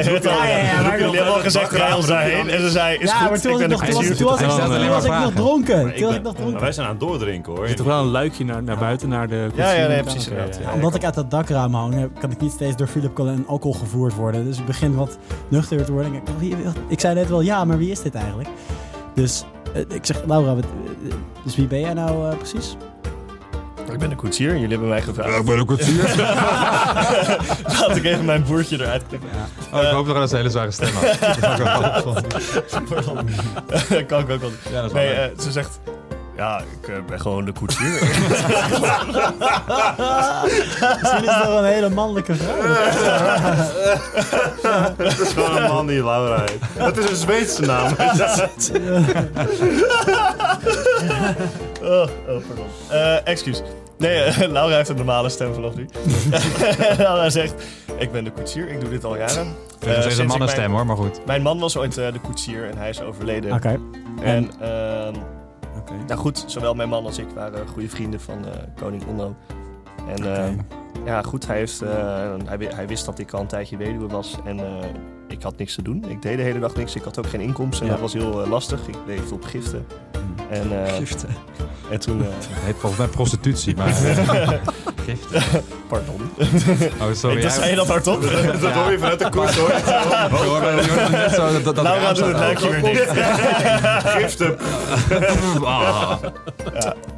ja, maar- Jullie hebben al gezegd, rij ons daarheen. En ze zei, is ja, maar goed, toen was ik ik nog, ben de toen was, koetsier. toen was, ik- Ik stel toen alleen was maar ik nog vragen. dronken. Maar Toen was ik ben- nog dronken. wij zijn aan het doordrinken, hoor. Er zit toch wel een luikje naar, naar buiten, naar de koets? Ja, ja, nee, Oké, precies inderdaad, ja. Omdat ik uit dat dakraam hang, eh, kan ik niet steeds door Philip Colin en alcohol gevoerd worden. Dus ik begin wat nuchter te worden. Ik, denk, wie- wie- ik zei net wel, ja, maar wie is dit eigenlijk? Dus eh, ik zeg, Laura, wat, eh, eh, dus wie ben jij nou eh, precies? Ik ben de koetsier, jullie hebben mij gevraagd. ben ook kwartier. Laat ik even mijn boertje eruit knippen. Oh, ik hoop dat ze een hele zware stem had. Dat vond ik wel grappig. Dat kan ik ook wel. Ja, dat is wel Nee, leuk. eh, ze zegt... Ja, ik eh, ben gewoon de koetsier. Misschien is het wel een hele mannelijke vrouw. Het is gewoon een man die Laura heet. Dat is een Zweedse naam. oh, oh, pardon. Eh, excuus. Nee, eh, Laura heeft een normale stem vanaf nu. Laura zegt... Ik ben de koetsier, ik doe dit al jaren. Het Eh, is nog sinds steeds ik een mijn- mannenstem hoor, maar goed. Mijn man was ooit eh, de koetsier en hij is overleden. Oké. En ehm, nou goed, zowel mijn man als ik waren goede vrienden van eh, koning Onno. En ehm, eh, ja, goed, hij, heeft, eh, hij, wi- hij wist dat ik al een tijdje weduwe was. En eh, ik had niks te doen. Ik deed de hele dag niks. Ik had ook geen inkomsten. Ja. Dat was heel eh, lastig. Ik leefde op giften. En, eh, Giften. en toen... eh, Het heet volgens mij prostitutie, maar... Giften. pardon. Oh, sorry. Ik- dat jij- zei je dat hardop? Dat hoor je vanuit de koers, hoor. Ik hoorde- ik hoorde net zo dat- dat- dat Laura raam doet het staat luikje weer dicht. Giften. open. Ah.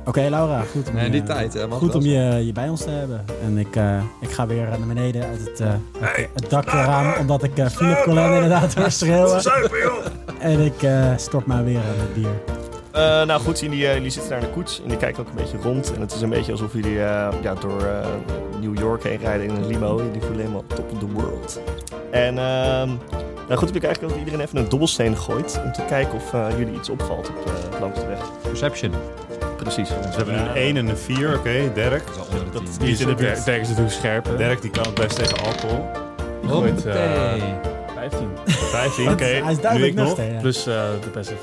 Oké, Laura, goed om, Nee, je, die tijd, hè, man. goed om je, je bij ons te hebben. En ik, eh, ik ga weer naar beneden uit het, eh het dakraam, omdat ik eh, Philip Colin inderdaad hoor schreeuwen. Dus En ik eh, stort mij weer aan het bier. Eh, nou goed, jullie, eh, jullie zitten naar de koets en die kijken ook een beetje rond. En het is een beetje alsof jullie eh, ja, door eh, New York heen rijden in een limo. Jullie voelen helemaal top of the world. En ehm, nou goed, heb ik eigenlijk dat iedereen even een dobbelsteen gooit. Om te kijken of eh, jullie iets opvalt op, eh, langs de weg. Perception. Precies. Ze hebben een 1 en een 4, oké. Dirk. Dat is al onder de Dat- tien. die is in de buurt. Dirk is natuurlijk scherp. hè? Dirk die kan het best tegen alcohol. Nooit, eh, Hoppatee. 15. 15, oké. Hij is Nu duidelijk ik nog. nuchter, ja. Plus eh, de passive.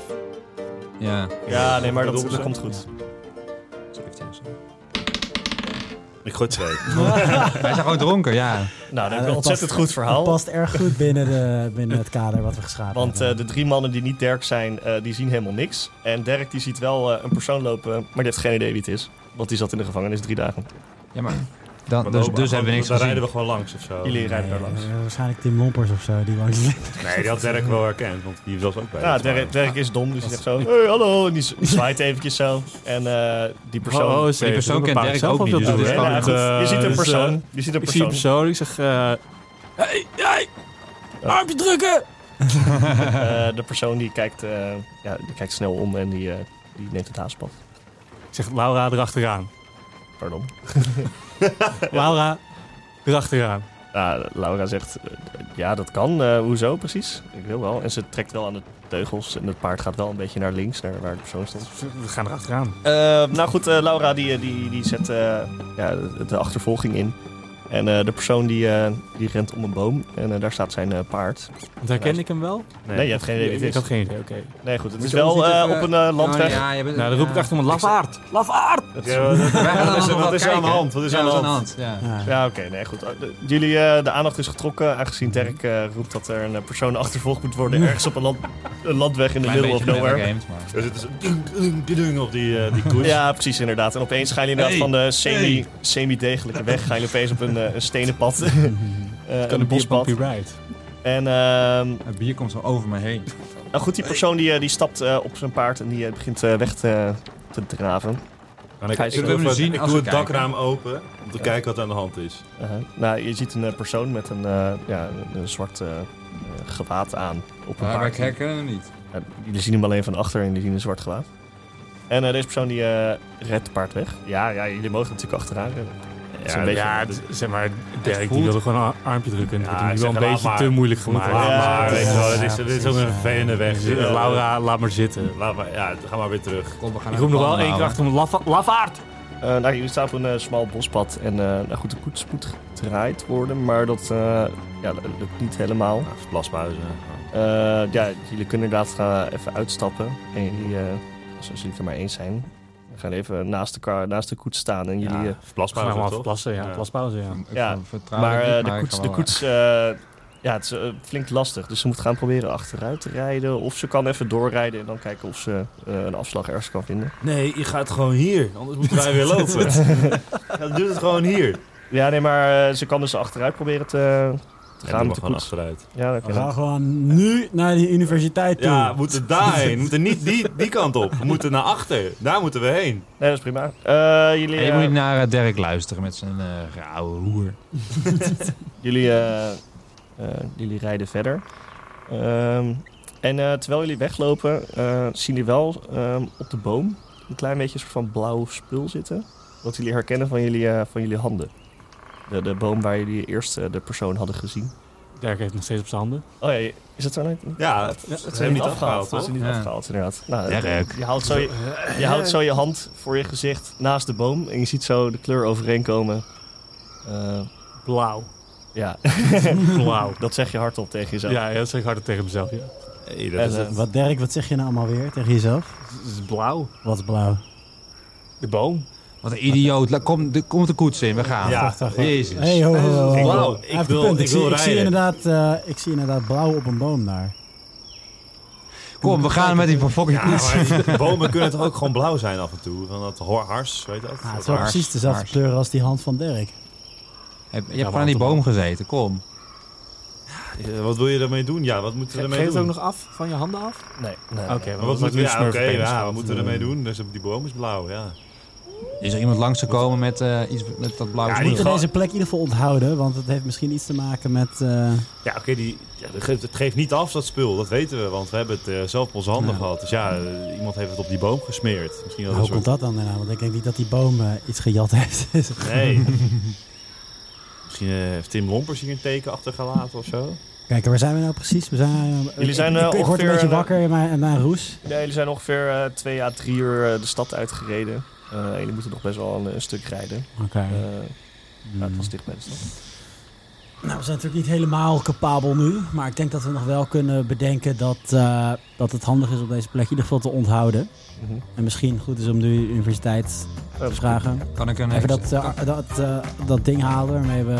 Ja. Ja, nee, maar dat, Dobbelsteen. dat komt goed. 17 of zo. Ik gooi 2. Wij zijn gewoon dronken, ja. Ja, Nou, dat heb ik dat een ontzettend Eh, past- goed Dat verhaal. past erg goed binnen, de, binnen het kader wat we geschapen Want eh, hebben. de drie mannen die niet Dirk zijn, eh, die zien helemaal niks. En Dirk die ziet wel eh, een persoon lopen, maar die heeft geen idee wie het is. Want die zat in de gevangenis drie dagen. ja maar dan, dus, dus hebben we niks Dan gezien. rijden we gewoon langs of zo. Jullie rijden Nee, daar langs. eh, waarschijnlijk Tim Lompers of zo die langs Nee, die had Dirk wel herkend, want die was ook bij. Ja, ons. Dirk, Dirk is dom, dus hij zegt zo... Hey, hallo! En die z- die zwaait eventjes zo. En eh, Oh, die persoon... die persoon kent Dirk ook niet, dus Ja, dat is nee, gewoon nou, het, goed. eh, je ziet een persoon. Je ziet een Ik zie persoon. een persoon, ik zeg... eh hey, hey! Armpje drukken! Eh, de persoon die kijkt, eh, ja, die kijkt snel om en die, eh, die neemt het haaspad. Ik zeg Laura erachteraan. Pardon. Laura erachteraan. Nou, Laura zegt, eh, ja, dat kan. Eh, hoezo precies? Ik wil wel. En ze trekt wel aan de teugels en het paard gaat wel een beetje naar links, naar waar de persoon stond. We gaan erachteraan. Eh, nou goed, eh, Laura die, eh, die, die zet eh, ja, de, de achtervolging in. En eh, de persoon die, eh, die rent om een boom en eh, daar staat zijn eh, paard. Want herken ik hem wel? Nee, je hebt geen idee wie het ik is. had geen idee, oké. Nee, goed, het Moet is je ons wel niet eh, even- op een eh, landweg. Oh, ja, je bent- Nou, dan roep ik ja. achter hem, lafaard! Lafaard! Het is- Ja, wat- Wij gaan dan Wat is er- nog wel wat is er aan de kijken. hand? Wat is er Ja, aan de wat hand? Ja. Ja. Ja, oké, nee, goed. Eh, de- Jullie, eh, de aandacht is getrokken, aangezien Dirk eh, roept dat er een eh, persoon achtervolgd moet worden ergens op een, land, een landweg in de Klein middle of beetje nowhere. games, maar... Er zit dus een dung, dung, dung op die, eh, die koers. Ja, precies, inderdaad. En opeens gaan jullie inderdaad Hey, van de semi, semi-degelijke weg, gaan jullie opeens op een, eh, een stenen pad, Eh, een Een bospad. bierpompje ride. En ehm, Het bier komt zo over me heen. Nou goed, die persoon die, eh, die stapt eh, op zijn paard en die eh, begint eh, weg te, te draven. En ik, Hij ik, is doe wel even- zien ik als doe we het kijken. dakraam open om te kijken wat er aan de hand is. Uh-huh. Nou, je ziet een eh, persoon met een, eh, ja, een- een zwart eh, eh, gewaad aan op een Ah, Maar wij paard. herkennen hem niet. Ja, jullie zien hem alleen van achter en jullie zien een zwart gewaad. En eh, deze persoon die eh, redt het paard weg. Ja, ja, jullie mogen natuurlijk achteraan rennen. Het is Ja, een beetje- ja, d- zeg maar, Dirk voelt- die wilde gewoon een armpje drukken. en Ja, dat wordt hem ik nu wel zeg, een laat beetje maar. te moeilijk gemaakt. Laat Ja, maar, weet je wel. Dit is, ja, dit is ook een precies. vervelende weg. Dus, eh, Laura, laat maar zitten. Laat maar, ja, ga maar weer terug. Kom, we gaan Ik naar roep de nog wel pannen één keer houden. achter hem, lafa- lafaard! Eh, nou, jullie staan op een eh, smal bospad en eh, nou goed, de koets moet gedraaid worden, maar dat eh, ja, dat lukt niet helemaal. Nou, Plasmuizen. Eh, ja, jullie kunnen inderdaad eh, even uitstappen. En jullie, eh, als als jullie het er maar eens zijn, we gaan even naast de, kar, naast de koets staan. En jullie, nou, Ja, eh, Gaan we plasmuizen, maar toch? even plassen, ja. Ja. Plaspauze, ja. Ik Ja, ver- vertrouw maar het eh, niet, de ik koets, ga de wel- koets eh, ja, het is eh, flink lastig. Dus ze moet gaan proberen achteruit te rijden. Of ze kan even doorrijden en dan kijken of ze eh, een afslag ergens kan vinden. Nee, je gaat gewoon hier. Anders moeten wij weer lopen. ja, doe het gewoon hier. Ja, nee, maar eh, ze kan dus achteruit proberen te, te gaan met de gewoon koets. achteruit. Ja, dat We kan. gaan gewoon nu naar die universiteit toe. Ja, we moeten daarheen. We moeten niet die, die kant op. We moeten naar achter. Daar moeten we heen. Nee, dat is prima. Eh, jullie, En je eh, moet niet naar eh, Dirk luisteren met zijn eh rauwe hoer. Jullie, eh, eh, jullie rijden verder. Ehm, en eh, terwijl jullie weglopen, eh, zien jullie wel ehm, op de boom een klein beetje een soort van blauw spul zitten. Wat jullie herkennen van jullie, eh, van jullie handen. De, de boom waar jullie eerst eh, de persoon hadden gezien. Dirk heeft nog steeds op zijn handen. Oh ja, is dat zo net? Ja, dat Dat hebben we niet afgehaald, Dat is toch? niet Ja. afgehaald, inderdaad. Nou, Dirk. je, houdt zo je, je houdt zo je hand voor je gezicht naast de boom. En je ziet zo de kleur overeenkomen. Eh, Blauw. ja, Blauw. dat zeg je hardop tegen jezelf. Ja, ja, dat zeg ik harder tegen mezelf, ja. Hey, En, dat is eh, het. Wat Dirk, wat zeg je nou allemaal weer tegen jezelf? Het is blauw. Wat blauw. De boom. Wat een idioot. La- Kom, de, komt de koets in, we gaan. Ja. Jezus. Hey, ho, ho, ho. Ik wil- Wauw, ik hij heeft wil- een punt. ik zie, wil ik, zie rijden. inderdaad, eh, ik zie inderdaad blauw op een boom daar. Nou, Kom, we gaan met die fucking Ja, koets. maar die bomen kunnen toch ook gewoon blauw zijn af en toe? Van dat hor- hars, weet je dat? Ah, het Dat is wel Waars, precies dezelfde waars. kleur als die hand van Dirk. Heb- Je hebt gewoon aan die boom gezeten, kom. hars. Eh, Wat wil je ermee doen? Ja, wat moeten we ermee Geef het doen? ook nog af, van je handen af. Nee, nee. Oké, Maar Wat moeten we, ja, oké, ja, wat moeten we ermee doen? Dus die boom is blauw, ja. Is er iemand langs te komen met, eh, iets, met dat blauwe Ja, We die- snoer? moeten gewoon- deze plek in ieder geval onthouden, want het heeft misschien iets te maken met... eh, Ja, oké, die ja, dat geeft- het geeft niet af, dat spul. Dat weten we, want we hebben het eh, zelf op onze handen Ja. Nou, gehad. Dus ja, eh, iemand heeft het op die boom gesmeerd. Misschien wel hoe een komt soort... dat dan daarna? Want ik denk niet dat die boom eh, iets gejat heeft. Dus- Nee. Misschien eh, heeft Tim Lompers hier een teken achtergelaten of zo. Kijk, waar zijn we nou precies? We zijn, eh, Jullie zijn, ik, eh, ik, ik word een ongeveer, beetje eh, wakker in mijn, in mijn roes. Ja, jullie zijn ongeveer eh, twee à drie uur eh, de stad uitgereden. Eh, jullie moeten nog best wel een, een stuk rijden. Oké. Eh, ja, het was dicht bij de stad. Nou, we zijn natuurlijk niet helemaal capabel nu. Maar ik denk dat we nog wel kunnen bedenken dat, eh, dat het handig is op deze plek in ieder geval te onthouden. Mhm. En misschien goed is om de universiteit te vragen. Kan ik een... Even dat, eh, dat, eh, dat ding halen waarmee we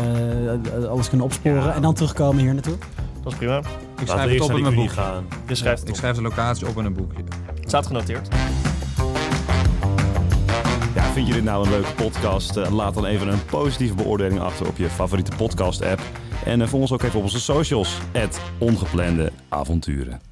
eh, alles kunnen opsporen. En dan terugkomen hier naartoe. Dat is prima. ik Laten schrijf we het eerst op naar in die mijn Unie boek. gaan. Je schrijft het Ik op. schrijf de locatie op in een boekje. Het staat genoteerd. Ja, vind je dit nou een leuke podcast? Eh, Laat dan even een positieve beoordeling achter op je favoriete podcast-app. En eh, volg ons ook even op onze socials. Het ongeplande avonturen.